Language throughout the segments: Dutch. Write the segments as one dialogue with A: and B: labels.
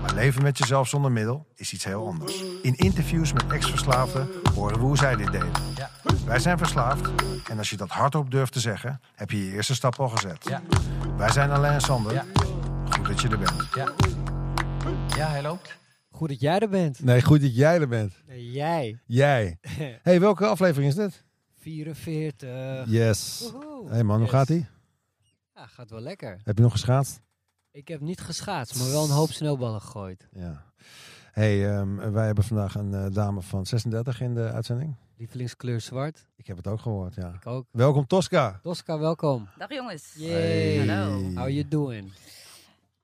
A: maar leven met jezelf zonder middel is iets heel anders. In interviews met ex-verslaafden horen we hoe zij dit deden.
B: Ja.
A: Wij zijn verslaafd en als je dat hardop durft te zeggen, heb je je eerste stap al gezet.
B: Ja.
A: Wij zijn Alain en Sander.
B: Ja.
A: Goed dat je er bent.
B: Ja. Ja, hij loopt.
C: Goed dat jij er bent.
D: Nee, goed dat jij er bent.
C: Nee, jij.
D: Jij. hey, welke aflevering is dit?
C: 44.
D: Yes.
C: Woehoe.
D: hey man, hoe
C: Yes.
D: gaat ie?
C: Ja, gaat wel lekker.
D: Heb je nog geschaatst?
C: Ik heb niet geschaatst, maar wel een hoop sneeuwballen gegooid.
D: Ja. hey, ehm, wij hebben vandaag een eh, dame van 36 in de uitzending.
C: Lievelingskleur zwart.
D: Ik heb het ook gehoord, ja.
C: Ik ook.
D: Welkom Tosca.
C: Tosca, welkom.
E: Dag jongens.
C: Yay.
E: Hallo.
C: How you doing?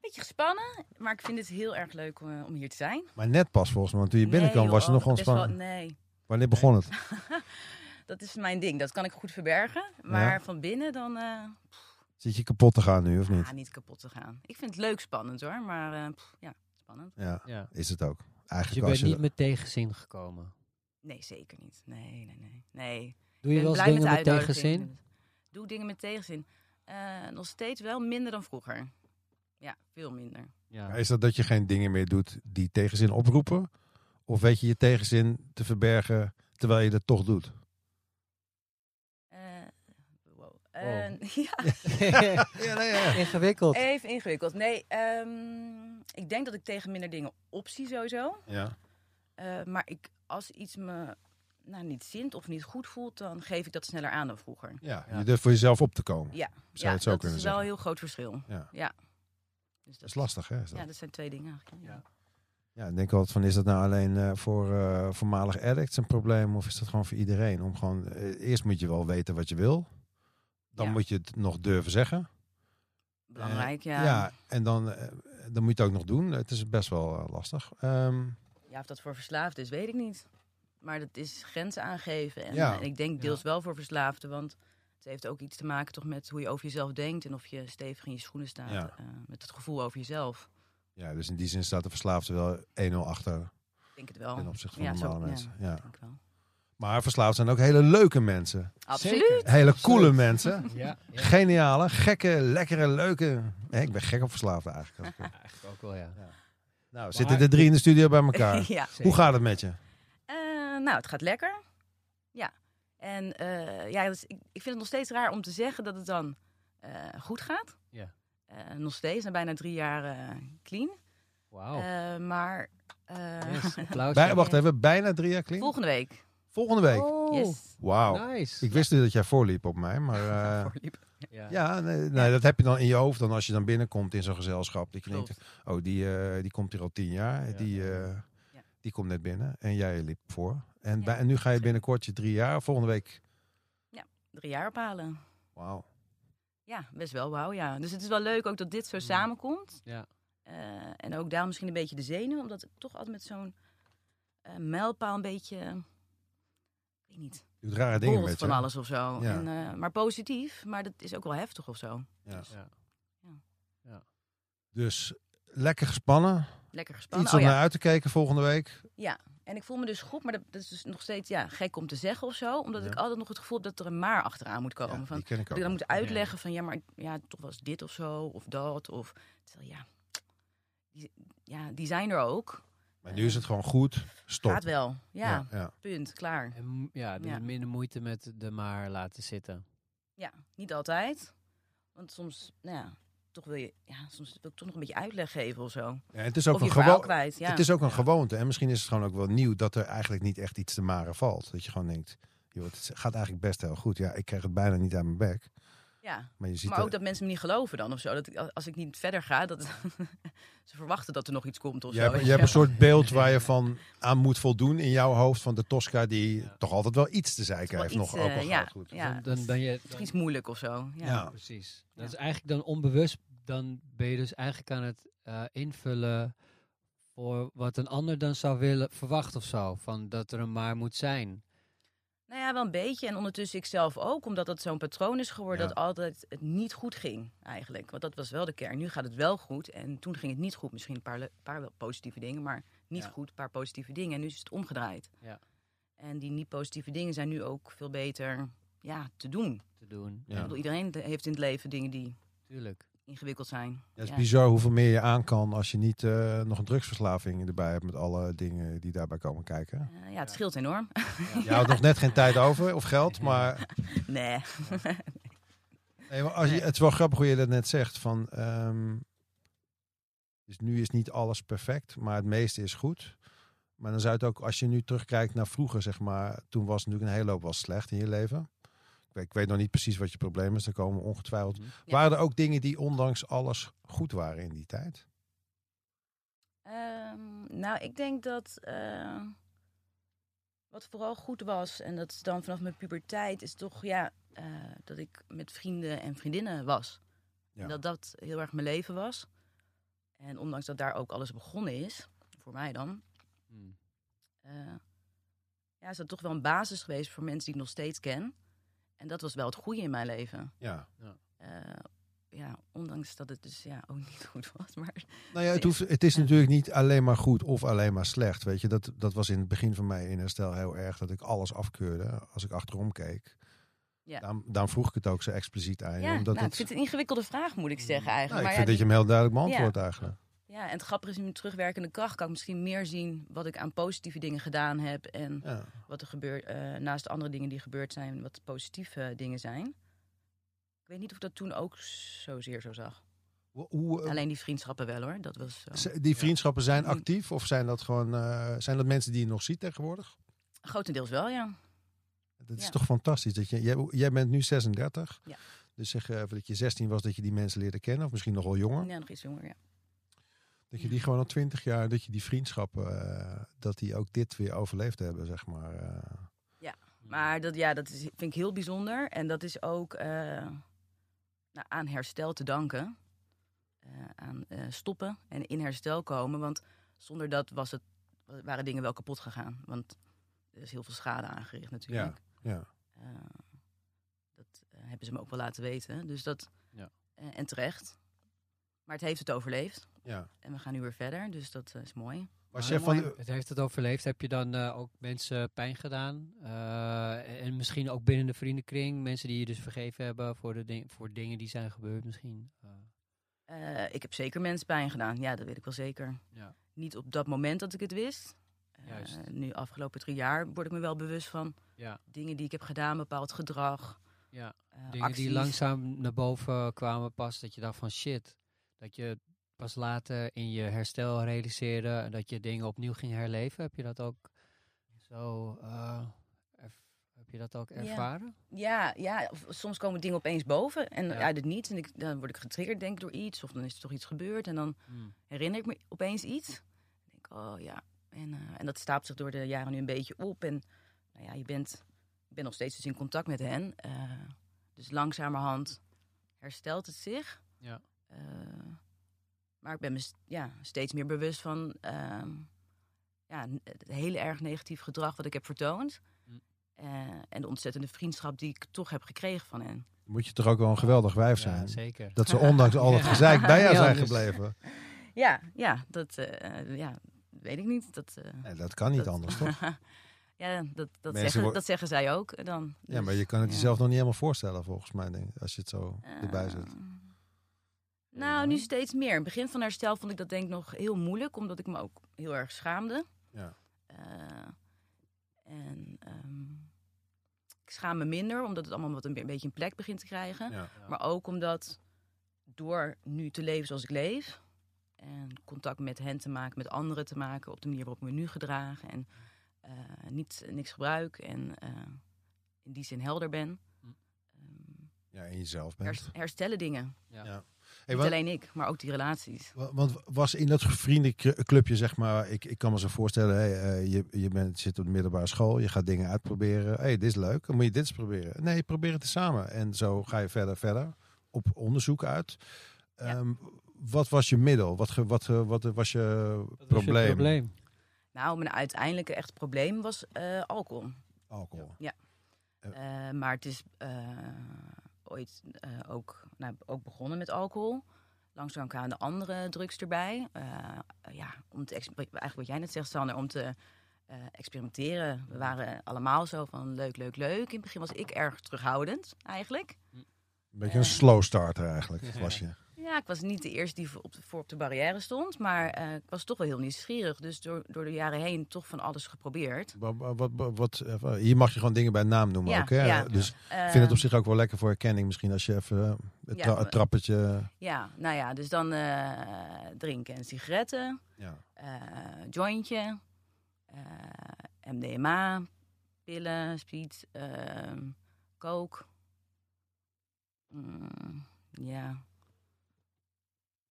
E: Beetje gespannen, maar ik vind het heel erg leuk eh, om hier te zijn.
D: Maar net pas volgens mij, want toen je
E: Nee,
D: binnenkwam
E: joh,
D: was je nog
E: oh, best wel-
D: ontspannen.
E: nee,
D: Wanneer begon het?
E: dat is mijn ding. Dat kan ik goed verbergen. Maar van binnen dan eh
D: Zit je kapot te gaan nu of
C: Hm.
D: niet?
E: ah, niet kapot te gaan. Ik vind het leuk spannend hoor, maar eh, pff, ja, spannend.
D: Ja,
C: Ja.
D: is het ook.
C: Dus je
D: Eigenlijk als
C: bent
D: je...
C: niet met tegenzin gekomen.
E: Nee, zeker niet. Nee, nee, nee. nee.
C: Doe je
E: ik
C: wel
E: ben
C: eens
E: blij met
C: dingen
E: de
C: met
E: uitdaging.
C: tegenzin?
E: Doe dingen met tegenzin. Eh, nog steeds wel minder dan vroeger. Ja, veel minder.
D: Maar
C: Ja.
D: Is dat dat je geen dingen meer doet die tegenzin oproepen? Of weet je je tegenzin te verbergen terwijl je dat toch doet?
E: Eh, wow. Eh, ja.
D: Ja, nee, ja.
C: Ingewikkeld.
E: Even ingewikkeld. Nee, ehm, ik denk dat ik tegen minder dingen optie sowieso.
D: ja.
E: Eh, maar ik, als iets me nou, niet zint of niet goed voelt, dan geef ik dat sneller aan dan vroeger. Zou
D: Ja,
C: Ja.
D: je durft voor jezelf op te komen.
E: Ja,
D: je het zo
E: dat
D: kunnen
E: is wel een
D: zeggen?
E: heel groot verschil.
D: Ja.
E: Dus
D: Dat is lastig, hè? Is dat?
E: Ja, dat zijn twee dingen eigenlijk. Ja.
D: Ja, ik denk altijd van, is dat nou alleen eh, voor eh, voormalig addicts een probleem of is dat gewoon voor iedereen? Om gewoon, eh, eerst moet je wel weten wat je wil, dan
E: Ja.
D: moet je het nog durven zeggen.
E: Belangrijk, ja. ja.
D: Eh, Ja, en dan, eh, dan moet je het ook nog doen. Het is best wel eh, lastig. Ehm,
E: of dat voor verslaafd is, weet ik niet. Maar dat is grenzen aangeven. En,
D: Ja.
E: en ik denk deels wel voor verslaafden, want het heeft ook iets te maken toch met hoe je over jezelf denkt en of je stevig in je schoenen staat.
D: Ja.
E: eh, met het gevoel over jezelf.
D: ja, dus in die zin staat de verslaafde wel 1-0 achter
E: Ik denk het wel.
D: ten opzichte van
E: Ja, zo-
D: normale
E: ja,
D: mensen.
E: ik
D: Ja.
E: denk wel.
D: Maar verslaafd zijn ook hele leuke mensen.
E: Absoluut.
D: Hele coole
C: Absoluut.
D: mensen.
C: Ja, ja.
D: Geniale, gekke, lekkere, leuke. Nee, ik ben gek op verslaafden eigenlijk.
C: Eigenlijk ook wel, ja.
D: Nou, zitten de drie in de studio bij elkaar.
E: ja.
D: Hoe gaat het met je?
E: Eh, nou, het gaat lekker. Ja. En eh, ja, dus ik, ik vind het nog steeds raar om te zeggen dat het dan eh, goed gaat.
C: Ja.
E: Eh, nog steeds, na bijna drie jaar eh, clean.
C: Wauw.
E: Eh, maar eh,
C: Yes, applaus.
D: Bij, wacht even, bijna drie jaar clean?
E: volgende week.
D: Volgende week.
C: Oh,
E: Yes.
D: Wauw.
C: Nice.
D: Ik wist niet dat jij voorliep op mij, maar... eh,
C: Ja.
D: ja, nee, nee, dat heb je dan in je hoofd dan als je dan binnenkomt in zo'n gezelschap. Dat je denkt,
E: Klopt.
D: oh, die, eh, die komt hier al tien jaar.
C: Ja.
D: Die, eh,
E: Ja.
D: die komt net binnen en jij liep voor. En,
E: Ja.
D: bij, en nu ga je binnenkort je drie jaar, volgende week...
E: Drie jaar ophalen.
D: Wauw.
E: Ja, best wel wauw, ja. Dus het is wel leuk ook dat dit zo samenkomt.
C: Ja.
E: Eh, en ook daar misschien een beetje de zenuw. Omdat ik toch altijd met zo'n eh, mijlpaal een beetje... eh, Ik weet niet.
D: Je doet rare dingen
E: borrelt
D: met je.
E: van
D: hè?
E: alles of zo.
D: Ja.
E: En, eh, maar positief, maar dat is ook wel heftig of zo.
D: Ja.
C: Ja.
D: Dus lekker gespannen.
E: Lekker gespannen.
D: Iets om
E: Oh, ja.
D: naar uit te kijken volgende week.
E: En ik voel me dus goed, maar dat, dat is dus nog steeds ja, gek om te zeggen of zo. Omdat
D: Ja.
E: ik altijd nog het gevoel heb dat er een maar achteraan moet
D: Ja,
E: komen. van,
D: die ken ik
E: dat
D: ook.
E: ik dan
D: nog.
E: moet uitleggen van ja, maar ja, toch was dit of zo, of dat. Of, terwijl, ja, die, ja, die zijn er ook. Eh,
D: Maar nu is het gewoon goed. Stop.
E: Gaat wel. Ja,
D: Ja, ja.
E: punt, klaar.
C: En, m- ja, dus
E: Ja.
C: minder moeite met de maar laten zitten.
E: Ja, niet altijd. Want soms, nou ja, toch wil je, ja, soms wil ik toch nog een beetje uitleg geven of zo.
D: Ja, het is ook
E: of
D: een
E: je verhaal
D: gewoon.
E: kwijt. Ja.
D: Het is ook een gewoonte. En misschien is het gewoon ook wel nieuw dat er eigenlijk niet echt iets te maren valt. Dat je gewoon denkt, joh, het gaat eigenlijk best heel goed. Ja, ik krijg het bijna niet aan mijn bek.
E: ja.
D: Maar je ziet
E: Maar ook
D: er-
E: dat mensen me niet geloven dan of zo. Dat ik, als ik niet verder ga, dat ze verwachten dat er nog iets komt of
D: je,
E: zo.
D: hebt,
E: weet
D: je
E: je
D: hebt een
E: wel.
D: soort beeld waar je van aan moet voldoen in jouw hoofd van de Tosca die
C: Ja.
D: toch altijd wel iets te zeiken
E: Wel
D: heeft.
E: iets,
D: nog ook al
E: eh,
D: gaat
E: ja,
D: het goed.
E: Ja,
C: dan, dan ben je...
E: Misschien is het moeilijk of zo. Ja.
D: Ja.
C: Precies.
E: Ja.
C: Dat is eigenlijk dan onbewust, dan ben je dus eigenlijk aan het eh, invullen voor wat een ander dan zou willen verwachten of zo. Van dat er een maar moet zijn.
E: Nou ja, wel een beetje. En ondertussen ik zelf ook, omdat dat zo'n patroon is geworden
D: Ja.
E: dat altijd het niet goed ging eigenlijk. Want dat was wel de kern. Nu gaat het wel goed en toen ging het niet goed. Misschien een paar, le- paar wel positieve dingen, maar niet
C: Ja.
E: goed, een paar positieve dingen. En nu is het omgedraaid.
C: Ja.
E: En die niet positieve dingen zijn nu ook veel beter ja, te doen.
C: te doen.
E: Ik
D: Ja.
E: bedoel, iedereen de- heeft in het leven dingen die
C: Tuurlijk.
E: ingewikkeld zijn.
D: Ja, het is
E: Ja.
D: bizar hoeveel meer je aan kan als je niet eh, nog een drugsverslaving erbij hebt met alle dingen die daarbij komen kijken.
E: Eh, ja, het scheelt enorm.
D: Je houdt nog net geen tijd over of geld, maar
E: nee.
D: Nee, maar als je, het is wel grappig hoe je dat net zegt. Van, ehm, dus nu is niet alles perfect, maar het meeste is goed. Maar dan zou het ook, als je nu terugkijkt naar vroeger, zeg maar, toen was natuurlijk een hele hoop was slecht in je leven. Ik weet, ik weet nog niet precies wat je probleem is, daar komen we ongetwijfeld.
C: Mhm.
E: Ja.
D: Waren er ook dingen die ondanks alles goed waren in die tijd?
E: Ehm, nou, ik denk dat eh, wat vooral goed was, en dat is dan vanaf mijn puberteit, is toch ja, eh, dat ik met vrienden en vriendinnen was.
D: Ja.
E: En dat dat heel erg mijn leven was. En ondanks dat daar ook alles begonnen is, voor mij dan,
C: Hm.
E: eh, ja, is dat toch wel een basis geweest voor mensen die ik nog steeds ken. En dat was wel het goede in mijn leven.
D: Ja.
E: Eh, ja, ondanks dat het dus ja, ook niet goed was. Maar
D: Nou ja, het, hoeft, het is natuurlijk niet alleen maar goed of alleen maar slecht. Weet je, dat, dat was in het begin van mij in herstel heel erg dat ik alles afkeurde als ik achterom keek.
E: Ja.
D: Daarom, daarom vroeg ik het ook zo expliciet aan. je,
E: ja,
D: omdat
E: nou,
D: het,
E: ik vind het een ingewikkelde vraag, moet ik zeggen eigenlijk.
D: nou, ik
E: maar
D: vind
E: ja,
D: dat
E: die-
D: je hem heel duidelijk beantwoordt eigenlijk.
E: Ja, en het grappige is, met terugwerkende kracht kan ik misschien meer zien wat ik aan positieve dingen gedaan heb. En
D: Ja.
E: wat er gebeurt, eh, naast de andere dingen die gebeurd zijn, wat de positieve eh, dingen zijn. Ik weet niet of ik dat toen ook zozeer zo zag.
D: Hoe, hoe, eh,
E: Alleen die vriendschappen wel hoor, dat was eh, zo.
D: z- die vriendschappen zijn actief of zijn dat gewoon eh, zijn dat mensen die je nog ziet tegenwoordig?
E: Grotendeels wel, ja.
D: Dat is
E: Ja.
D: toch fantastisch. Dat je, jij, jij bent nu 36.
E: Ja.
D: Dus zeg eh, dat je 16 was dat je die mensen leerde kennen, of misschien nog wel jonger.
E: Ja, nog iets jonger, ja.
D: Dat je die gewoon al twintig jaar, dat je die vriendschappen, eh, dat die ook dit weer overleefd hebben, zeg maar. eh.
E: Maar dat, ja, dat is, vind ik heel bijzonder. En dat is ook eh, nou, aan herstel te danken. Eh, aan eh, stoppen en in herstel komen. Want zonder dat was het, waren dingen wel kapot gegaan. Want er is heel veel schade aangericht natuurlijk.
D: ja.
E: Eh, dat eh, hebben ze me ook wel laten weten. Dus dat,
C: Ja.
E: eh, en terecht. Maar het heeft het overleefd.
D: ja.
E: En we gaan nu weer verder. Dus dat eh, is mooi.
D: Was
C: Maar
D: je van,
C: Het heeft het overleefd. Heb je dan eh, ook mensen pijn gedaan? Eh, en misschien ook binnen de vriendenkring. Mensen die je dus vergeven hebben voor, de ding, voor dingen die zijn gebeurd misschien. Eh,
E: Eh, ik heb zeker mensen pijn gedaan. Ja, dat weet ik wel zeker.
C: Ja.
E: Niet op dat moment dat ik het wist. Eh,
C: Juist.
E: nu afgelopen drie jaar word ik me wel bewust van
C: ja,
E: dingen die ik heb gedaan, bepaald gedrag,
C: ja.
E: eh,
C: Dingen
E: acties.
C: die langzaam naar boven kwamen pas. Dat je dacht van shit. Dat je pas later in je herstel realiseerde. En dat je dingen opnieuw ging herleven. Heb je dat ook zo... eh, erv- heb je dat ook
E: Ja.
C: ervaren?
E: Ja, ja, of soms komen dingen opeens boven en
C: Ja.
E: uit het niets. En ik, dan word ik getriggerd denk ik door iets of dan is er toch iets gebeurd en dan
C: Hm.
D: Hmm.
E: herinner ik me opeens iets. Dan denk ik, oh ja. En, eh, en dat staapt zich door de jaren nu een beetje op. En nou ja, je bent, ik ben nog steeds dus in contact met hen. eh, dus langzamerhand herstelt het zich.
C: Ja.
E: Eh, maar ik ben me st- ja, steeds meer bewust van ehm, ja, n- het hele erg negatief gedrag wat ik heb vertoond.
C: Mm.
E: Eh, en de ontzettende vriendschap die ik toch heb gekregen van hen.
D: moet je toch ook wel een geweldig wijf zijn?
C: Ja, zeker.
D: dat ze ondanks al het gezeik bij jou
C: Ja,
D: zijn
C: dus-
D: gebleven.
E: Ja, ja, dat eh, ja, weet ik niet. Dat, eh,
D: Nee, dat kan niet
E: Dat-
D: anders, toch?
E: ja, dat, dat,
D: Mensen
E: zeggen,
D: worden-
E: dat zeggen zij ook eh, dan.
D: Ja, maar
C: Dus-
D: je kan het
E: ja.
D: jezelf nog niet helemaal voorstellen, volgens mij, denk ik, als je het zo
E: Eh,
D: erbij zet.
E: Nou, nu steeds meer. In het begin van herstel vond ik dat denk ik nog heel moeilijk, omdat ik me ook heel erg schaamde.
D: Ja.
E: Eh, en ehm, ik schaam me minder, omdat het allemaal wat een, be- een beetje een plek begint te krijgen.
D: Ja.
E: Maar ook omdat door nu te leven zoals ik leef en contact met hen te maken, met anderen te maken, op de manier waarop ik me nu gedraag en eh, niet, niks gebruik en eh, in die zin helder ben,
C: Hm.
E: ehm,
D: ja, in jezelf bent.
E: hers- herstellen dingen.
D: Hey,
E: Niet
D: wa-
E: alleen ik, maar ook die relaties.
D: wa- want was in dat vriendenclubje, zeg maar, ik, ik kan me zo voorstellen, hey, eh, je, je bent, zit op de middelbare school, je gaat dingen uitproberen. hey, dit is leuk, dan moet je dit eens proberen. Nee, probeer het eens samen. En zo ga je verder, verder, op onderzoek uit.
E: Ja.
D: Ehm, wat was je middel? Wat, ge- wat, eh, wat was je
C: Dat was je
D: probleem?
C: probleem.
E: Nou, mijn uiteindelijke echt probleem was eh, alcohol.
D: Alcohol.
E: Ja. Eh, maar het is eh, ooit eh, ook, nou, ook begonnen met alcohol. Langzaam kwamen de andere drugs erbij. Eh, ja, om te ex- eigenlijk wat jij net zegt, Sander, om te eh, experimenteren. We waren allemaal zo van leuk, leuk, leuk. In het begin was ik erg terughoudend, eigenlijk.
D: Een beetje een slow starter eigenlijk, was je.
E: Ja, ik was niet de eerste die voor op de, voor op de barrière stond. Maar eh, ik was toch wel heel nieuwsgierig. Dus door, door de jaren heen toch van alles geprobeerd.
D: Wat, wat, wat, wat- eh, hier mag je gewoon dingen bij naam noemen
E: Ja,
D: ook, hè?
E: ja.
D: Dus ik vind het op
E: Ehm,
D: zich ook wel lekker voor herkenning misschien als je even eh, het,
E: Ja,
D: tra-
E: maar-
D: het trappetje...
E: Ja, nou ja, dus dan eh, drinken en sigaretten.
D: Ja.
E: eh, jointje, eh, MDMA, pillen, speed, ehm coke. Mm, ja.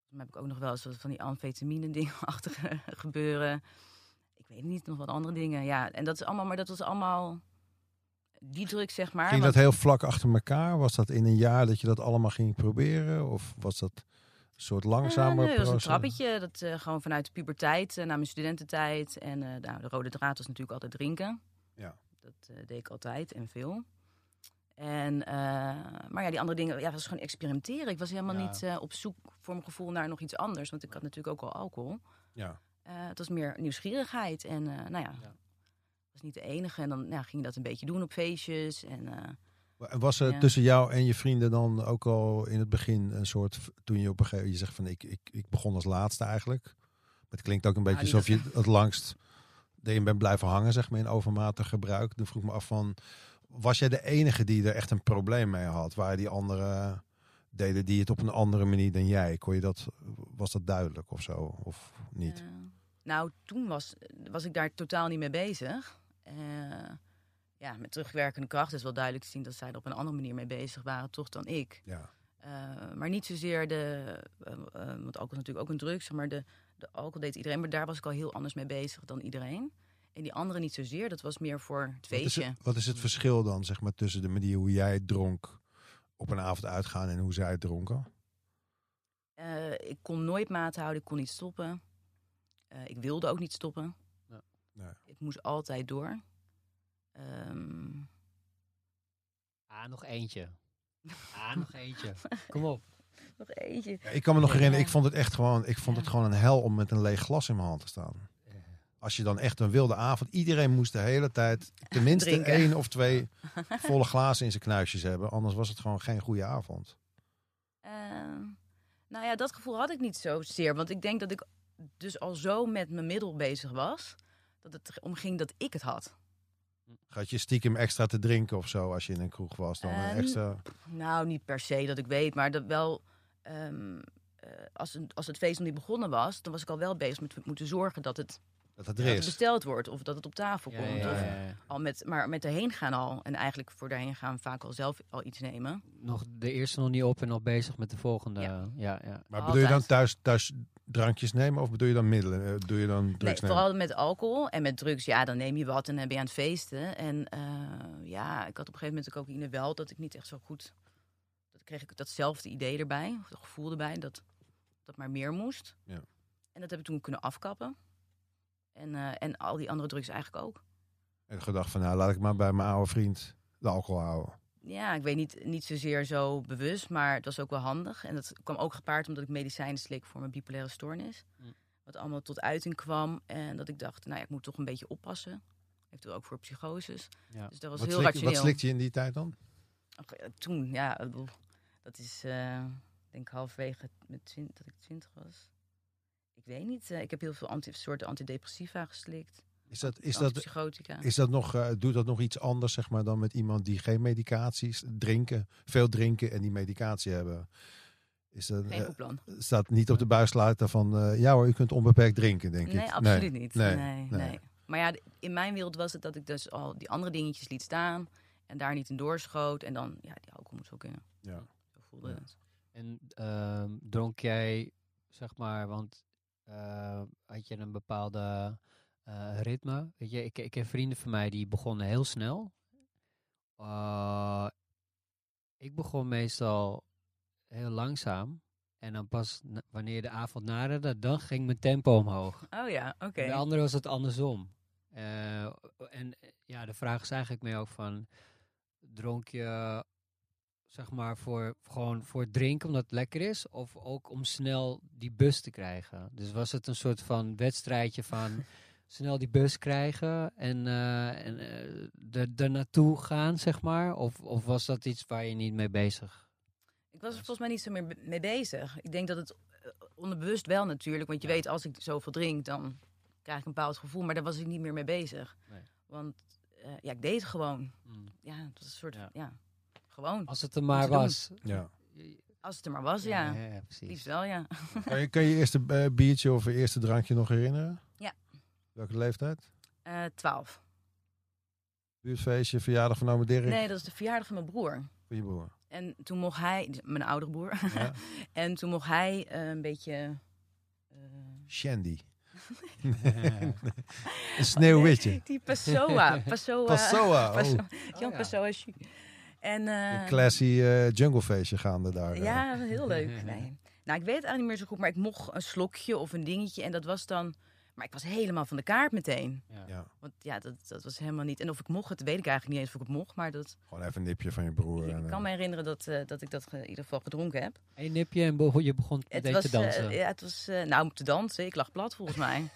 E: Dan heb ik ook nog wel eens wat van die amfetamine dingen achter gebeuren. Ik weet niet, nog wat andere dingen. Ja, en dat is allemaal, maar dat was allemaal die druk, zeg maar.
D: Ging
E: want-
D: dat heel vlak achter elkaar? Was dat in een jaar dat je dat allemaal ging proberen? Of was dat een soort langzamer
E: Eh, nee, dat was
D: proces?
E: een trappetje. Dat eh, gewoon vanuit de puberteit, eh, na mijn studententijd. En eh, nou, de rode draad was natuurlijk altijd drinken.
D: Ja.
E: Dat eh, deed ik altijd en veel. En, eh, maar ja, die andere dingen, ja, was gewoon experimenteren. Ik was helemaal
D: Ja.
E: niet eh, op zoek voor mijn gevoel naar nog iets anders. Want ik had natuurlijk ook al alcohol.
D: Ja.
E: Eh, het was meer nieuwsgierigheid. En eh, nou ja,
C: Ja.
E: ik was niet de enige. En dan ja, ging je dat een beetje doen op feestjes. En eh,
D: En Was er
E: Ja.
D: tussen jou en je vrienden dan ook al in het begin een soort... v- Toen je op een gegeven moment... Je zegt van, ik, ik, ik begon als laatste eigenlijk. Maar het klinkt ook een beetje
E: die
D: alsof je het langst... erin bent blijven hangen, zeg maar, in overmatig gebruik. Dan vroeg ik me af van... Was jij de enige die er echt een probleem mee had? Waren die anderen... Deden die het op een andere manier dan jij? Kon je dat, was dat duidelijk of zo? Of niet?
E: Eh, nou, toen was, was ik daar totaal niet mee bezig. Eh, ja, met terugwerkende kracht is wel duidelijk te zien dat zij er op een andere manier mee bezig waren, toch dan ik.
D: Ja.
E: Eh, maar niet zozeer de. eh, eh, want alcohol is natuurlijk ook een drug, zeg maar de, de alcohol deed iedereen, maar daar was ik al heel anders mee bezig dan iedereen. En die andere niet zozeer, dat was meer voor het
D: Wat is,
E: feestje.
D: het, wat is het verschil dan, zeg maar, tussen de manier hoe jij dronk op een avond uitgaan en hoe zij het dronken?
E: Eh, ik kon nooit maat houden, ik kon niet stoppen. Eh, ik wilde ook niet stoppen.
C: Ja.
D: Nee.
E: Ik moest altijd door. Ehm,
C: Ah, nog eentje. Ah, nog eentje. Kom op.
E: nog eentje.
D: Ja, ik kan me nog
E: Ja.
D: herinneren, ik vond het echt gewoon, ik vond
E: Ja.
D: het gewoon een hel om met een leeg glas in mijn hand te staan. Als je dan echt een wilde avond, iedereen moest de hele tijd tenminste
E: Drinken.
D: één of twee volle glazen in zijn knuisjes hebben. Anders was het gewoon geen goede avond.
E: Ehm, nou ja, dat gevoel had ik niet zozeer. Want ik denk dat ik dus al zo met mijn middel bezig was. Dat het erom ging dat ik het had.
D: Gaat je stiekem extra te drinken of zo als je in een kroeg was? Dan een
E: Ehm,
D: extra...
E: Nou, niet per se dat ik weet. Maar dat wel... ehm, eh, als, een- als het feest nog niet begonnen was, dan was ik al wel bezig met moeten zorgen dat het,
D: Dat het
E: dat
D: er
E: het
D: is.
E: besteld wordt. Of dat het op tafel
C: Ja,
E: komt.
C: ja,
E: Of
C: ja, ja.
E: Al met, maar met erheen gaan al. En eigenlijk voor daarheen gaan vaak al zelf al iets nemen.
C: Nog de eerste nog niet op en nog bezig met de volgende.
E: Ja.
C: Ja, ja. ja.
D: Maar bedoel je dan
E: Altijd.
D: thuis, thuis drankjes nemen of bedoel je dan middelen? Eh, Doe je dan drugs
E: Nee,
D: nemen?
E: vooral met alcohol en met drugs. Ja, dan neem je wat en dan ben je aan het feesten. En eh, ja, ik had op een gegeven moment ook cocaïne wel dat ik niet echt zo goed... Dat kreeg ik datzelfde idee erbij, of dat gevoel erbij, dat dat maar meer moest.
D: Ja.
E: En dat heb ik toen kunnen afkappen. En, eh, en al die andere drugs eigenlijk ook.
D: En gedacht van, nou, laat ik maar bij mijn oude vriend de alcohol houden.
E: Ja, ik weet niet, niet zozeer zo bewust, maar het was ook wel handig. En dat kwam ook gepaard omdat ik medicijnen slik voor mijn bipolaire stoornis.
C: Hm.
D: Mm.
E: Wat allemaal tot uiting kwam. En dat ik dacht, nou ja, ik moet toch een beetje oppassen. Eventueel ook voor psychoses.
C: Ja.
E: Dus dat was
D: Wat,
E: heel
D: slik-
E: rationeel.
D: wat slikte je in die tijd dan?
E: Ach, ja, Toen, ja, ik bedoel, dat is, eh, ik denk halverwege met twin- dat ik twintig was. Ik weet niet, eh, ik heb heel veel anti soorten antidepressiva geslikt.
D: Is dat, is dat,
E: antipsychotica.
D: is dat nog, eh, doet dat nog iets anders zeg maar, dan met iemand die geen medicaties drinken, veel drinken en die medicatie hebben? Is dat,
E: Geen
D: eh,
E: goed plan.
D: staat niet op de buislater van, eh, ja hoor, u kunt onbeperkt drinken, denk ik.
E: Nee, absoluut niet.
D: nee,
E: Nee, nee,
D: nee.
E: Maar ja, d- in mijn wereld was het dat ik dus al die andere dingetjes liet staan en daar niet in doorschoot. En dan, ja, die alcohol moet wel kunnen.
D: Ja.
E: Zo voelde
D: Ja.
E: het.
C: En ehm, dronk jij, zeg maar, want eh, had je een bepaalde eh, ritme? Weet je, ik, ik heb vrienden van mij die begonnen heel snel. Eh, ik begon meestal heel langzaam. En dan pas na- wanneer de avond naderde, dan ging mijn tempo omhoog.
E: Oh ja, oké.
C: En De andere was het andersom. Eh, en eh, ja, de vraag is eigenlijk meer ook van... dronk je zeg maar voor, gewoon voor drinken omdat het lekker is? Of ook om snel die bus te krijgen? Dus was het een soort van wedstrijdje van snel die bus krijgen en, eh en eh, er, er naartoe gaan, zeg maar? Of, of was dat iets waar je niet mee bezig
E: Ik was er volgens mij niet zo meer be- mee bezig. Ik denk dat het eh, onderbewust wel natuurlijk. Want je weet, als ik zoveel drink, dan krijg ik een bepaald gevoel. Maar daar was ik niet meer mee bezig.
C: Nee.
E: Want eh, ja, ik deed het gewoon.
C: Mm.
E: Ja, het was een soort...
C: Ja.
E: Ja. gewoon.
C: Als het er maar
E: Moeten doen.
C: was.
D: Ja.
E: Als het er maar was, ja.
C: ja, ja,
E: Liefst
C: precies.
E: wel, ja.
D: Kan je, kan je eerste eh, biertje of je eerste drankje nog herinneren?
E: Ja.
D: Welke leeftijd?
E: Eh, Twaalf.
D: Buurtfeestje, verjaardag van oma Dirk?
E: nee, dat is de verjaardag van mijn broer.
D: Van je broer?
E: En toen mocht hij... Mijn oudere broer.
D: Ja.
E: en toen mocht hij eh, een beetje... eh,
D: Shandy. Nee, nee. Een sneeuwwitje.
E: Die Passoa. Passoa.
D: Passoa. oh.
E: Passoa. Jan
C: ja.
E: Passoa is chic. En, eh,
D: Een classy eh, junglefeestje gaande daar. eh.
E: Ja, heel leuk. Nee. Nou, ik weet het eigenlijk niet meer zo goed, maar ik mocht een slokje of een dingetje. En dat was dan... Maar ik was helemaal van de kaart meteen.
D: Ja.
E: Want ja, dat, dat was helemaal niet... En of ik mocht het, weet ik eigenlijk niet eens of ik het mocht. Maar dat,
D: Gewoon even een nipje van je broer. en,
E: ik
D: eh,
E: kan me herinneren dat, eh, dat ik dat ge- in ieder geval gedronken heb.
C: Eén nipje en begon- je begon
E: Het
C: meteen
E: was,
C: te dansen.
E: eh, ja, het was eh, nou, om te dansen. Ik lag plat volgens mij.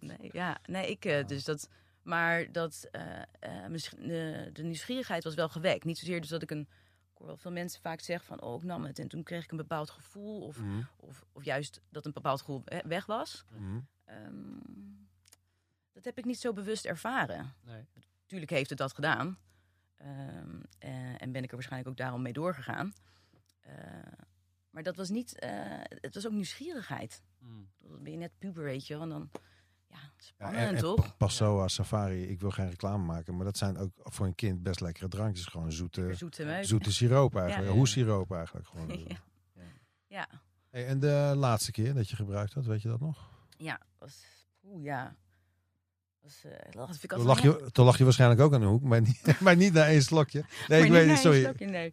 E: nee, ja, nee, ik eh, dus dat. Maar dat, eh, eh, mijn sch- de, de nieuwsgierigheid was wel gewekt. Niet zozeer dus dat ik een. Ik hoor wel veel mensen vaak zeggen van, oh, ik nam het en toen kreeg ik een bepaald gevoel. Of,
D: mhm,
E: of, of juist dat een bepaald gevoel we- weg was.
D: mhm.
E: Ehm, dat heb ik niet zo bewust ervaren.
C: Nee.
E: Tuurlijk heeft het dat gedaan. Ehm, eh, en ben ik er waarschijnlijk ook daarom mee doorgegaan. Eh, maar dat was niet... eh, het was ook nieuwsgierigheid.
C: Mm.
E: Dan ben je net puber, weet je wel. En dan, ja,
D: Ja,
E: spannend,
D: en- en
E: toch?
D: Pa- Passoa, Safari, ik wil geen reclame maken, maar dat zijn ook voor een kind best lekkere drankjes. Gewoon zoete,
E: Zoete meuk.
D: zoete siroop eigenlijk,
C: Ja.
D: hoe siroop eigenlijk. Gewoon.
E: Ja. Ja,
D: Hey, en de laatste keer dat je gebruikt had, weet je dat nog?
E: ja. Was, oeh, ja. Was, eh, dat vind ik
D: Toen
E: altijd
D: lag,
E: wel-
D: je, toen lag je waarschijnlijk ook aan de hoek, maar niet, maar niet na één slokje. Nee,
E: maar
D: ik weet
E: niet na
D: niet,
E: één
D: sorry.
E: slokje, nee.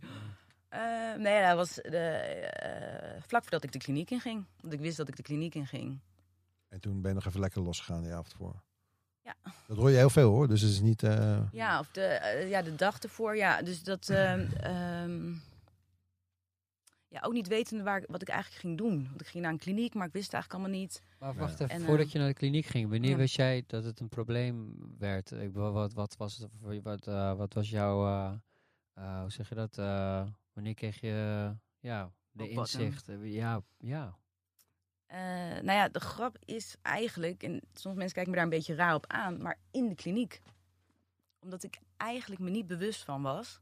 E: Eh, nee, dat was de, eh, vlak voordat ik de kliniek inging. Want ik wist dat ik de kliniek inging.
D: En toen ben je nog even lekker losgegaan die avond voor.
E: Ja.
D: Dat hoor je heel veel hoor, dus het is niet... eh,
E: Ja, of de, eh, ja, de dag ervoor. Ja, dus dat... ehm, ehm, ja, ook niet wetende waar, ik- wat ik eigenlijk ging doen. Want ik ging naar een kliniek, maar ik wist het eigenlijk allemaal niet.
C: Maar
D: Ja.
C: wacht even,
E: En,
C: voordat
E: eh,
C: je naar de kliniek ging, wanneer
E: ja.
C: wist jij dat het een probleem werd? Ik bedoel, wat, wat, was, het voor je- wat, eh, wat was jouw, eh, eh, hoe zeg je dat, eh, wanneer kreeg je ja, de
E: Rock bottom.
C: inzicht? Eh, Ja, ja.
E: Eh, nou ja, de grap is eigenlijk, en soms mensen kijken me daar een beetje raar op aan, maar in de kliniek. Omdat ik eigenlijk me niet bewust van was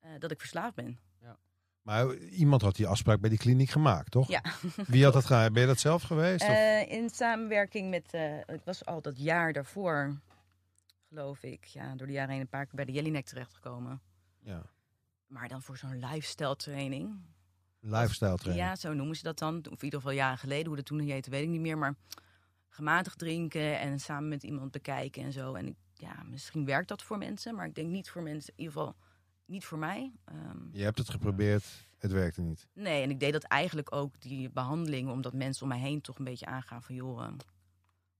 E: eh, dat ik verslaafd ben.
D: Maar iemand had die afspraak bij die kliniek gemaakt, toch?
E: Ja.
D: Wie had dat gedaan? Ben je dat zelf geweest? of-
E: Eh, in samenwerking met, eh, ik was al dat jaar daarvoor, geloof ik, ja, door de jaren heen een paar keer bij de Jellinek terechtgekomen.
D: ja.
E: Maar dan voor zo'n lifestyle training.
D: Lifestyle training.
E: Ja, zo noemen ze dat dan. Of in ieder geval jaren geleden. Hoe dat toen heette, weet ik niet meer. Maar gematigd drinken en samen met iemand bekijken en zo. En ik, ja, misschien werkt dat voor mensen. Maar ik denk niet voor mensen. In ieder geval niet voor mij. Ehm,
D: Je hebt het geprobeerd, het werkte niet.
E: Nee, en ik deed dat eigenlijk ook, die behandeling. Omdat mensen om mij heen toch een beetje aangaan van... joh, eh,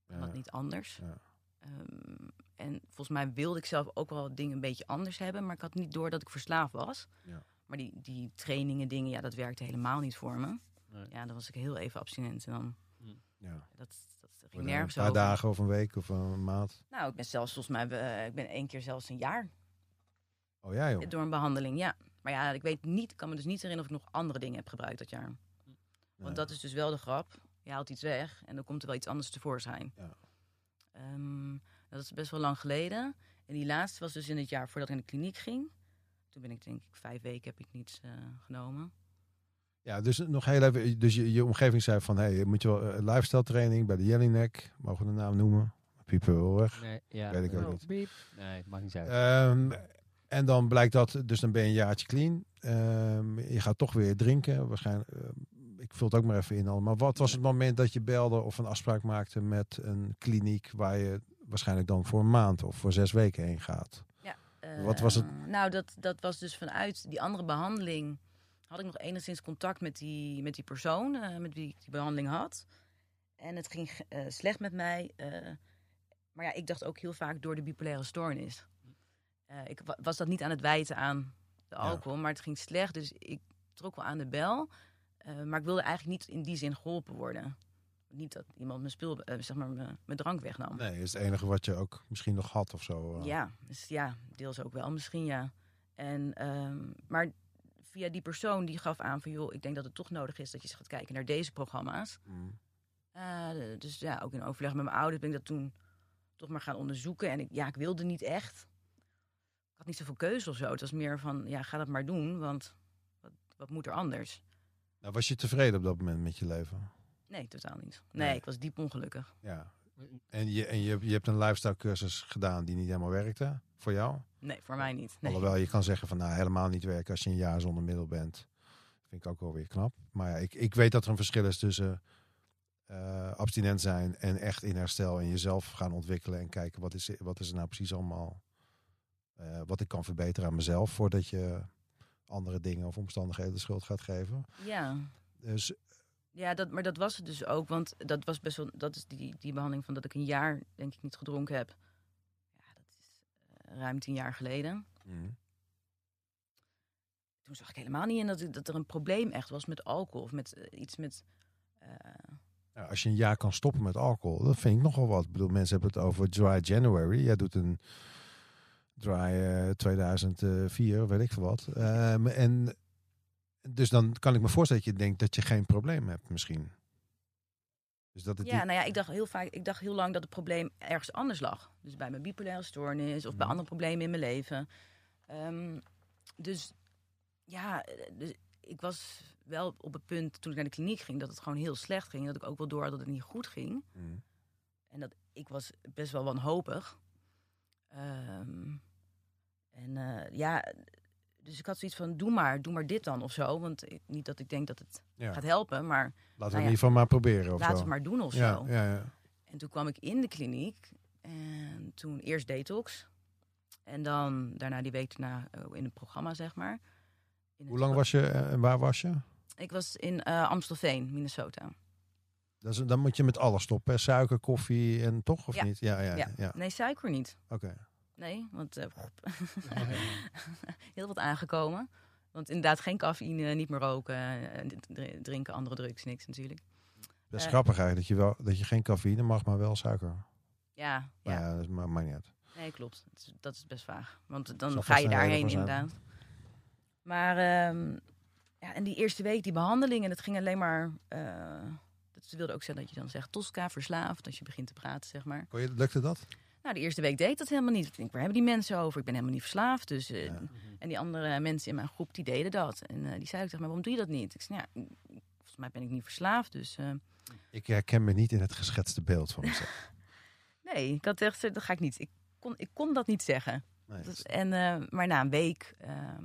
E: kan
D: Ja.
E: dat niet anders?
D: Ja.
E: Ehm, en volgens mij wilde ik zelf ook wel dingen een beetje anders hebben. Maar ik had niet door dat ik verslaafd was.
D: Ja.
E: Maar die, die trainingen, dingen, ja, dat werkte helemaal niet voor me.
C: Nee.
E: Ja, dan was ik heel even abstinent. En dan
D: Ja.
E: Dat, dat ging
D: Een paar
E: nergens over.
D: dagen of een week of een maand.
E: Nou, ik ben zelfs volgens mij, eh, ik ben één keer zelfs een jaar
D: Oh ja joh.
E: door een behandeling, ja. Maar ja, ik weet niet, ik kan me dus niet herinneren of ik nog andere dingen heb gebruikt dat jaar.
D: Nee.
E: Want dat is dus wel de grap. Je haalt iets weg en dan komt er wel iets anders tevoorschijn.
D: Ja.
E: Ehm, dat is best wel lang geleden. En die laatste was dus in het jaar voordat ik naar de kliniek ging. Toen ben ik denk ik vijf weken heb ik niets eh, genomen.
D: Ja, dus nog heel even. Dus je, je omgeving zei van, hé, hey, moet je wel eh, lifestyle training bij de Jellinek. Mogen we de naam noemen? Piepen wel weg.
C: Nee, ja.
D: Weet ik ook
C: Oh,
D: niet.
C: Biep. Nee, maakt niet uit.
D: Ehm, en dan blijkt dat, dus dan ben je een jaartje clean. Ehm, je gaat toch weer drinken. Waarschijnlijk, eh, ik vul het ook maar even in al. Maar wat was het moment dat je belde of een afspraak maakte met een kliniek waar je waarschijnlijk dan voor een maand of voor zes weken heen gaat? Wat was het?
E: Eh, nou, dat, dat was dus vanuit die andere behandeling. Had ik nog enigszins contact met die, met die persoon eh, met wie ik die behandeling had. En het ging eh, slecht met mij. eh, maar ja, ik dacht ook heel vaak door de bipolaire stoornis. eh, ik wa- was dat niet aan het wijten aan de alcohol, maar het ging slecht. Dus ik trok wel aan de bel. eh, maar ik wilde eigenlijk niet in die zin geholpen worden. Niet dat iemand mijn, spul, eh, zeg maar, mijn, mijn drank wegnam.
D: Nee, is het enige wat je ook misschien nog had of zo. eh.
E: Ja, dus ja, deels ook wel misschien, ja. En, ehm, maar via die persoon die gaf aan van... joh, ik denk dat het toch nodig is dat je eens gaat kijken naar deze programma's.
D: Mm.
E: Eh, dus ja, ook in overleg met mijn ouders ben ik dat toen toch maar gaan onderzoeken. En ik, ja, ik wilde niet echt. Ik had niet zoveel keuze of zo. Het was meer van, ja, ga dat maar doen, want wat, wat moet er anders?
D: Nou, was je tevreden op dat moment met je leven?
E: Nee, totaal niet. Nee,
D: Nee.
E: ik was diep ongelukkig.
D: Ja. En, je, en je, je hebt een lifestyle cursus gedaan die niet helemaal werkte voor jou?
E: Nee, voor mij niet. Nee.
D: Alhoewel je kan zeggen van nou helemaal niet werken als je een jaar zonder middel bent. Vind ik ook wel weer knap. Maar ja, ik, ik weet dat er een verschil is tussen eh, abstinent zijn en echt in herstel en jezelf gaan ontwikkelen en kijken wat is, wat is er nou precies allemaal. eh, wat ik kan verbeteren aan mezelf voordat je andere dingen of omstandigheden de schuld gaat geven.
E: Ja.
D: Dus
E: Ja, dat, maar dat was het dus ook. Want dat was best wel. Dat is die, die behandeling van dat ik een jaar, denk ik, niet gedronken heb. Ja, dat is eh, ruim tien jaar geleden. Toen zag ik helemaal niet in dat, ik- dat er een probleem echt was met alcohol. Of met eh, iets met. eh,
D: nou, als je een jaar kan stoppen met alcohol, dat vind ik nogal wat. Ik bedoel, mensen hebben het over dry January. Jij doet een dry eh, 2004, weet ik veel wat. Ehm, en dus dan kan ik me voorstellen dat je denkt dat je geen probleem hebt misschien. Dus dat het
E: ja, nou ja, ik dacht heel vaak. Ik dacht heel lang dat het probleem ergens anders lag. Dus bij mijn bipolaire stoornis of bij
D: Mhm.
E: andere problemen in mijn leven. Ehm, dus ja, eh, dus ik was wel op het punt toen ik naar de kliniek ging dat het gewoon heel slecht ging. Dat ik ook wel door had dat het niet goed ging.
D: niet...
E: En dat ik was best wel wanhopig. Ehm, en eh, ja, dus ik had zoiets van: doe maar, doe maar dit dan of zo. Want ik- niet dat ik denk dat het
D: Ja.
E: gaat helpen, maar
D: Laten we
E: ja.
D: in ieder geval maar proberen. Of
E: laat
D: zo.
E: het maar doen of
D: ja,
E: zo.
D: ja, ja.
E: En toen kwam ik in de kliniek en toen eerst detox. En dan daarna die week daarna eh, in het programma, zeg maar. In
D: Hoe
E: het-
D: lang was je eh, en waar was je?
E: Ik was in eh, Amstelveen, Minnesota.
D: Dat is, dan moet je met alles stoppen. hè? Suiker, koffie en toch of
E: Ja.
D: niet? Ja, ja, ja.
E: Ja. Nee, suiker niet.
D: Oké.
E: Nee, want eh, heel wat aangekomen. Want inderdaad, geen cafeïne, niet meer roken, eh, dr- drinken andere drugs, niks natuurlijk.
D: Dat is
E: Eh.
D: grappig eigenlijk dat je, wel, dat je geen cafeïne mag, maar wel suiker.
E: Ja, ja.
D: Maar ja, dat ma- maakt niet uit.
E: nee, klopt. Dat is, dat is best vaag. Want
D: Zal
E: dan ga
D: vast
E: je
D: een reden
E: daarheen
D: voor zijn.
E: inderdaad. Maar ehm, ja, en die eerste week, die behandeling, en het ging alleen maar... eh, dat wilde ook zeggen dat je dan zegt Tosca, verslaafd, als je begint te praten, zeg maar.
D: Kon je, lukte dat?
E: Nou, de eerste week deed ik dat helemaal niet. Ik denk, waar hebben die mensen over? Ik ben helemaal niet verslaafd. Dus, eh,
D: Ja.
E: En die andere mensen in mijn groep, die deden dat. En eh, die zeiden ook tegen mij, waarom doe je dat niet? Ik zei, nou, ja, mm, volgens mij ben ik niet verslaafd. Dus eh,
D: Ik herken me niet in het geschetste beeld van mezelf.
E: nee, ik had echt, gezegd, dat ga ik niet. Ik kon, ik kon dat niet zeggen.
D: Nee.
E: Dat- en, eh, maar na een week ehm,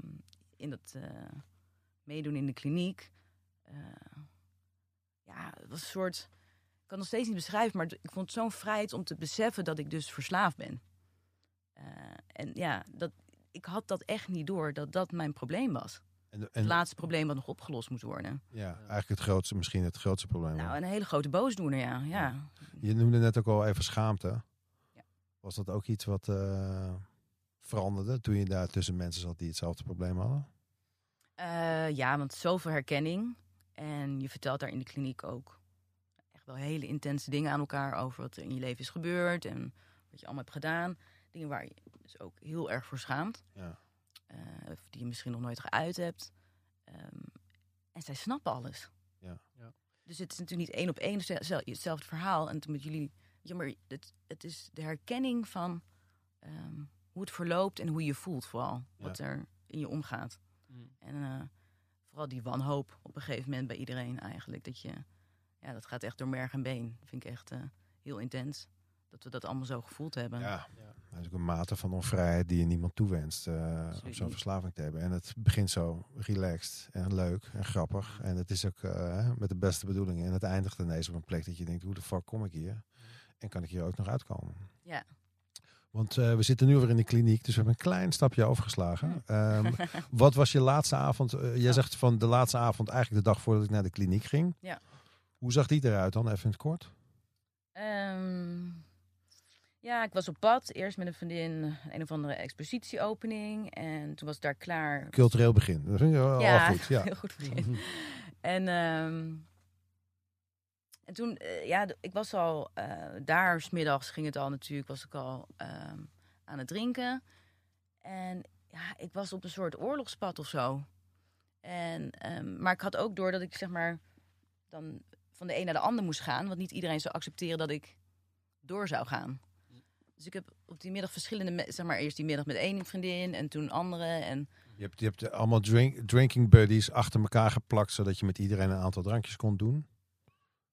E: in dat eh, meedoen in de kliniek. eh, ja, het was een soort... Ik kan het nog steeds niet beschrijven, maar ik vond het zo'n vrijheid om te beseffen dat ik dus verslaafd ben. Eh, en ja, dat, ik had dat echt niet door, dat dat mijn probleem was.
D: En,
E: Het
D: en,
E: laatste probleem wat nog opgelost moest worden.
D: ja, eigenlijk het grootste, misschien het grootste probleem.
E: Nou,
D: wel.
E: een hele grote boosdoener, ja. ja.
D: Je noemde net ook al even schaamte.
E: Ja.
D: Was dat ook iets wat eh, veranderde toen je daar tussen mensen zat die hetzelfde probleem hadden?
E: Eh, ja, want zoveel herkenning. En je vertelt daar in de kliniek ook echt wel hele intense dingen aan elkaar over wat er in je leven is gebeurd en wat je allemaal hebt gedaan. Dingen waar je dus ook heel erg voor schaamt.
D: Ja.
E: Eh, of die je misschien nog nooit geuit hebt. Ehm, en zij snappen alles.
D: Ja.
C: Ja.
E: Dus het is natuurlijk niet één op één zel- zel- hetzelfde verhaal. En toen met jullie, ja, maar het, het is de herkenning van ehm, hoe het verloopt en hoe je voelt vooral.
D: Ja.
E: Wat er in je omgaat.
C: Mm.
E: En eh, vooral die wanhoop op een gegeven moment bij iedereen eigenlijk. Dat je, ja, dat gaat echt door merg en been. Dat vind ik echt eh, heel intens. Dat we dat allemaal zo gevoeld hebben.
D: Ja. Dat is ook een mate van onvrijheid die je niemand toewenst eh, om
E: Absoluut
D: zo'n
E: niet.
D: verslaving te hebben. En het begint zo relaxed en leuk en grappig. En het is ook eh, met de beste bedoelingen. En het eindigt ineens op een plek dat je denkt, hoe de fuck kom ik hier? En kan ik hier ook nog uitkomen?
E: Ja.
D: Want eh, we zitten nu weer in de kliniek, dus we hebben een klein stapje overgeslagen. Ehm, wat was je laatste avond? Eh, jij zegt van de laatste avond, eigenlijk de dag voordat ik naar de kliniek ging.
E: Ja.
D: Hoe zag die eruit dan, even in het kort?
E: Ehm, Ja, ik was op pad. Eerst met een vriendin een of andere expositieopening. En toen was ik daar klaar.
D: Cultureel begin. Dat vind ik wel
E: ja,
D: al goed. Ja.
E: heel goed begin. en, ehm, en toen, eh, ja, d- ik was al eh, daar, smiddags ging het al natuurlijk, was ik al ehm, aan het drinken. En ja, ik was op een soort oorlogspad of zo. En, ehm, maar ik had ook door dat ik zeg maar dan van de een naar de ander moest gaan. Want niet iedereen zou accepteren dat ik door zou gaan. Dus ik heb op die middag verschillende, me- zeg maar eerst die middag met één vriendin en toen andere. En
D: Je hebt, je hebt eh, allemaal drink, drinking buddies achter elkaar geplakt, zodat je met iedereen een aantal drankjes kon doen.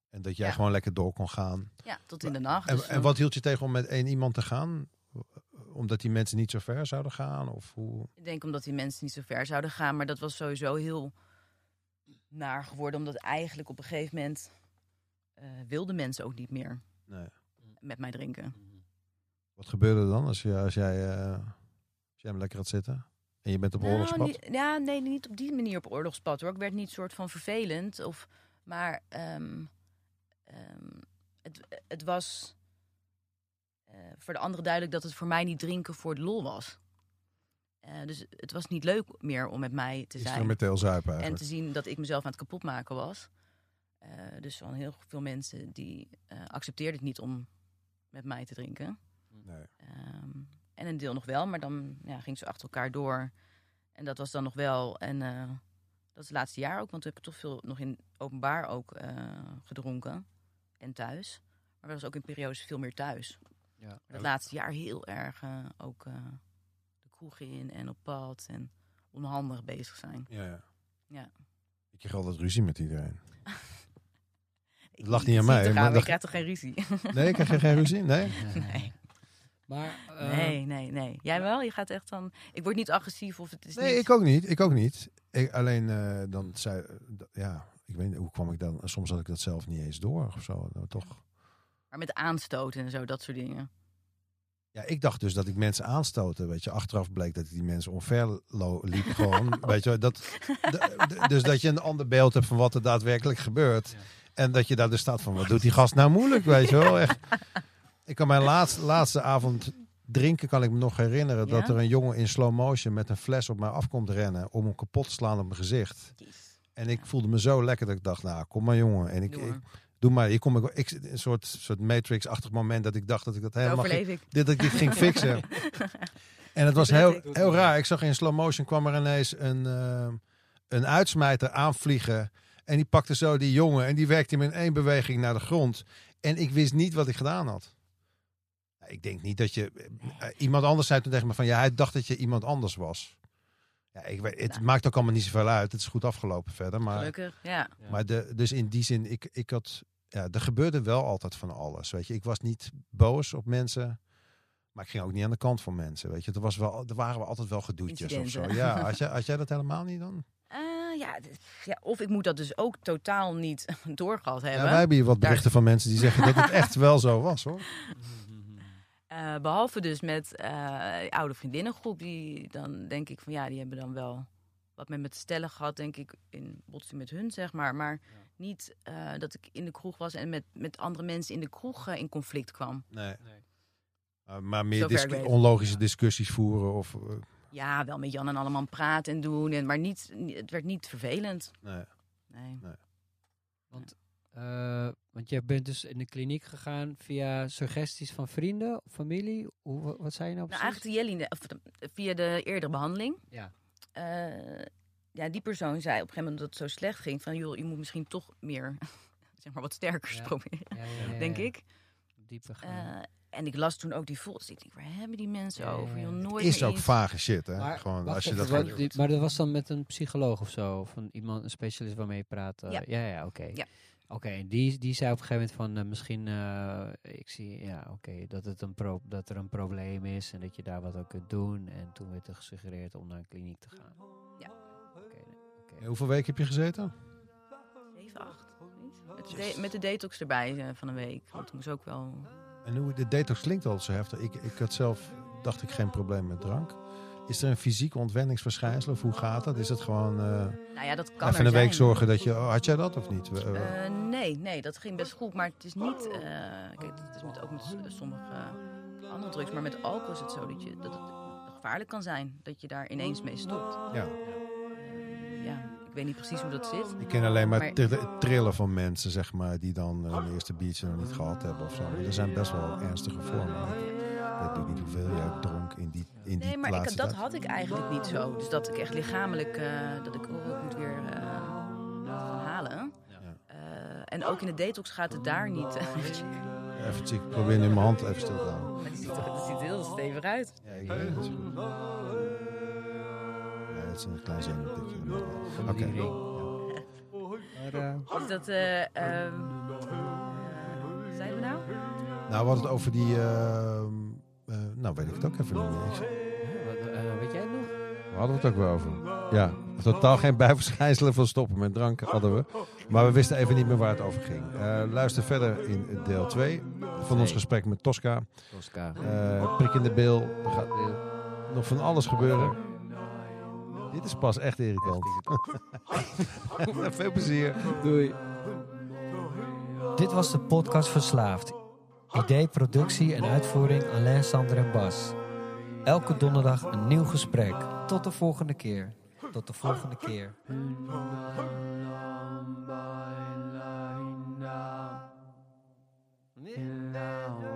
D: En dat jij
E: Ja.
D: gewoon lekker door kon gaan.
E: ja, tot in de nacht.
D: En,
E: Dus
D: en
E: dan-
D: wat hield je tegen om met één iemand te gaan? Omdat die mensen niet zo ver zouden gaan? Of hoe?
E: Ik denk omdat die mensen niet zo ver zouden gaan. Maar dat was sowieso heel naar geworden. Omdat eigenlijk op een gegeven moment eh, wilden mensen ook niet meer
D: Nee.
E: met mij drinken.
D: Wat gebeurde er dan als, je, als, jij, eh, als jij hem lekker had zitten? En je bent op oorlogspad?
E: Nou, niet- ja, nee, niet op die manier op oorlogspad hoor. Ik werd niet soort van vervelend. Of, maar ehm, ehm, het, het was eh, voor de anderen duidelijk dat het voor mij niet drinken voor de lol was. Eh, dus het was niet leuk meer om met mij te zijn.
D: Instrumenteel zuipen
E: En
D: eigenlijk.
E: te zien dat ik mezelf aan het kapotmaken was. Eh, dus van heel veel mensen die eh accepteerden het niet om met mij te drinken.
D: Nee.
E: Ehm, en een deel nog wel, maar dan ja, ging ze achter elkaar door. En dat was dan nog wel. En eh, dat is het laatste jaar ook, want we hebben toch veel nog in openbaar ook eh, gedronken. En thuis. Maar er was ook in periodes veel meer thuis.
C: Ja.
E: Het laatste jaar heel erg eh, ook eh, de kroeg in en op pad en onhandig bezig zijn.
D: Ja, ja.
E: Ja.
D: Ik kreeg altijd ruzie met iedereen.
E: Ik
D: lag
E: zie
D: niet aan
E: het
D: mij,
E: eraan,
D: maar
E: maar
D: dat-
E: ik krijg toch geen ruzie?
D: Nee, ik kreeg geen ruzie? Nee?
E: Nee.
C: Maar, eh,
E: nee, nee, nee. Jij wel? Je gaat echt dan... Ik word niet agressief of het is
D: Nee,
E: niet...
D: ik ook niet. Ik ook niet. Ik, alleen eh, dan zei... d- ja, ik weet niet, hoe kwam ik dan... Soms had ik dat zelf niet eens door of zo. Nou, toch.
E: Maar met aanstoten en zo, dat soort dingen.
D: Ja, ik dacht dus dat ik mensen aanstoten. Weet je, achteraf bleek dat ik die mensen onver lo- liep gewoon. Weet je, dat, d- d- dus dat je een ander beeld hebt van wat er daadwerkelijk gebeurt.
C: Ja.
D: En dat je daar dus staat van, wat doet die gast nou moeilijk, weet je wel. Echt. Ik kan mijn laatste, laatste avond drinken, kan ik me nog herinneren...
E: Ja?
D: dat er een jongen in slow motion met een fles op mij af komt rennen... om hem kapot te slaan op mijn gezicht. En ik voelde me zo lekker dat ik dacht, nou, kom maar jongen. En ik,
E: Doe
D: ik-
E: maar.
D: doe maar, hier kom ik, ik een soort, soort Matrix-achtig moment... dat ik dacht dat ik dat
E: Dat
D: helemaal ging-
E: overleef ik.
D: dit dat ik dit ging fixen. En het was heel,
E: Doet
D: heel raar. Ik zag in slow motion kwam er ineens een, ehm, een uitsmijter aanvliegen. En die pakte zo die jongen en die werkte hem in één beweging naar de grond. En ik wist niet wat ik gedaan had. Nou, Ik denk niet dat je... eh, Iemand anders zei toen tegen me van... Ja, hij dacht dat je iemand anders was. Ja, ik weet, het
E: Nou.
D: maakt ook allemaal niet zoveel uit. Het is goed afgelopen verder. Maar
E: Gelukkig, ja.
C: Ja.
D: maar de, dus in die zin, ik, ik had, ja, er gebeurde wel altijd van alles. Weet je, ik was niet boos op mensen, maar ik ging ook niet aan de kant van mensen. Weet je, er, was wel, er waren we altijd wel gedoetjes of zo.
E: Incidenten.
D: Ja, had jij, had jij dat helemaal niet dan?
E: Eh, ja, dit- ja. Of ik moet dat dus ook totaal niet doorgehad
D: Ja,
E: hebben.
D: wij hebben hier wat
E: Daar-
D: berichten van mensen die zeggen dat het echt wel zo was hoor.
E: Eh, behalve dus met eh oude vriendinnengroep. Die dan denk ik van ja, die hebben dan wel wat met me te stellen gehad, denk ik, in botsing met hun, zeg maar. Maar niet eh, dat ik in de kroeg was en met, met andere mensen in de kroeg eh, in conflict kwam.
D: Nee.
C: Nee.
D: Uh, maar meer
E: Zover ik
D: discu-
E: weet.
D: onlogische discussies voeren of... eh,
E: Ja, wel met Jan en allemaal praten en doen, en, maar niet, het werd niet vervelend. Nou,
D: nee.
E: Nee.
C: eh, want je bent dus in de kliniek gegaan via suggesties van vrienden, familie. Hoe, wa- wat zei je nou
E: Nou,
C: precies?
E: eigenlijk de Jelline, of de- via de eerdere behandeling.
C: Ja.
E: eh, ja, die persoon zei op een gegeven moment dat het zo slecht ging. Van joh, je moet misschien toch meer, zeg maar wat sterkers
C: Ja.
E: proberen,
C: Ja, ja, ja, ja,
E: denk
C: ja.
E: ik.
C: Dieper
E: Eh,
C: gaan.
E: en ik las toen ook die volks. Ik denk, waar hebben die mensen
C: Ja, ja,
E: over?
C: ja.
E: Joh, nooit
D: Is
E: meer
D: ook
E: iets.
D: vage shit hè.
C: Maar
D: Gewoon
C: wacht
D: als je
C: even,
D: dat...
C: wat-
D: gaat doen.
C: die- maar dat was dan met een psycholoog of zo? Of een, iemand, een specialist waarmee je praat? eh,
E: Ja.
C: ja, ja, oké.
E: Ja.
C: Oké, en die, die zei op een gegeven moment van eh, misschien, eh, ik zie, ja, oké, dat, het een pro- dat er een probleem is en dat je daar wat aan kunt doen. En toen werd er gesuggereerd om naar een kliniek te gaan.
E: Ja.
C: Oké,
D: Hoeveel weken heb je gezeten?
E: Zeven, acht, zoiets. Met de, de- met de detox erbij eh, van een week. Want toen moest ook wel...
D: En hoe de detox klinkt altijd zo heftig. Ik, ik had zelf, dacht ik, geen probleem met drank. Is er een fysieke ontwenningsverschijnsel of hoe gaat dat? Is het gewoon eh,
E: Nou ja, dat kan
D: even
E: er
D: een week
E: zijn.
D: zorgen dat je... oh, had jij dat of niet? Eh,
E: Eh, nee, nee, dat ging best goed. Maar het is niet... eh, kijk, dat is met, ook met s- eh, sommige andere drugs. Maar met alcohol is het zo dat, je, dat het gevaarlijk kan zijn. Dat je daar ineens mee stopt.
D: Ja.
E: Ehm, ja, ik weet niet precies hoe dat zit.
D: Ik ken alleen maar,
E: Maar-
D: tri- trillen van mensen, zeg maar, die dan eh, hun eerste biertje nog niet gehad hebben of zo. Maar er zijn best wel ernstige vormen. Dat doet niet hoeveel jij dronk in die, in die
E: Nee, maar ik,
D: laatste
E: dat
D: tijd.
E: had ik eigenlijk niet zo. Dus dat ik echt lichamelijk, eh, dat ik, oh, ik moet weer eh, gaan halen. Eh, en ook in de detox gaat het daar niet. weet je.
D: Even, ik probeer nu mijn hand even stil te houden.
E: Maar die ziet, er- die ziet er heel stevig uit.
D: Ja, ik weet het. Ja, het is een klein zenuwtikje. maar, eh, Oké.
C: Die ring. Maar, eh,
E: Dus dat, eh, ehm, eh, zeiden we nou?
D: Nou, we hadden het over die... ehm, eh, nou, weet ik het ook even niet meer. Ik-
C: wat, eh, weet jij het nog?
D: We hadden het ook wel over. Ja, totaal geen bijverschijnselen van stoppen met drank hadden we. Maar we wisten even niet meer waar het over ging. Eh, luister verder in deel 2 van ons
C: Nee.
D: gesprek met Tosca.
C: Tosca.
D: Eh, prik in de bil. Er gaat nog van alles gebeuren. Dit is pas echt irritant. Veel plezier.
C: Doei.
F: Dit was de podcast Verslaafd. Idee, productie en uitvoering Alain, Sander en Bas. Elke donderdag een nieuw gesprek. Tot de volgende keer. Tot de volgende keer.
C: Now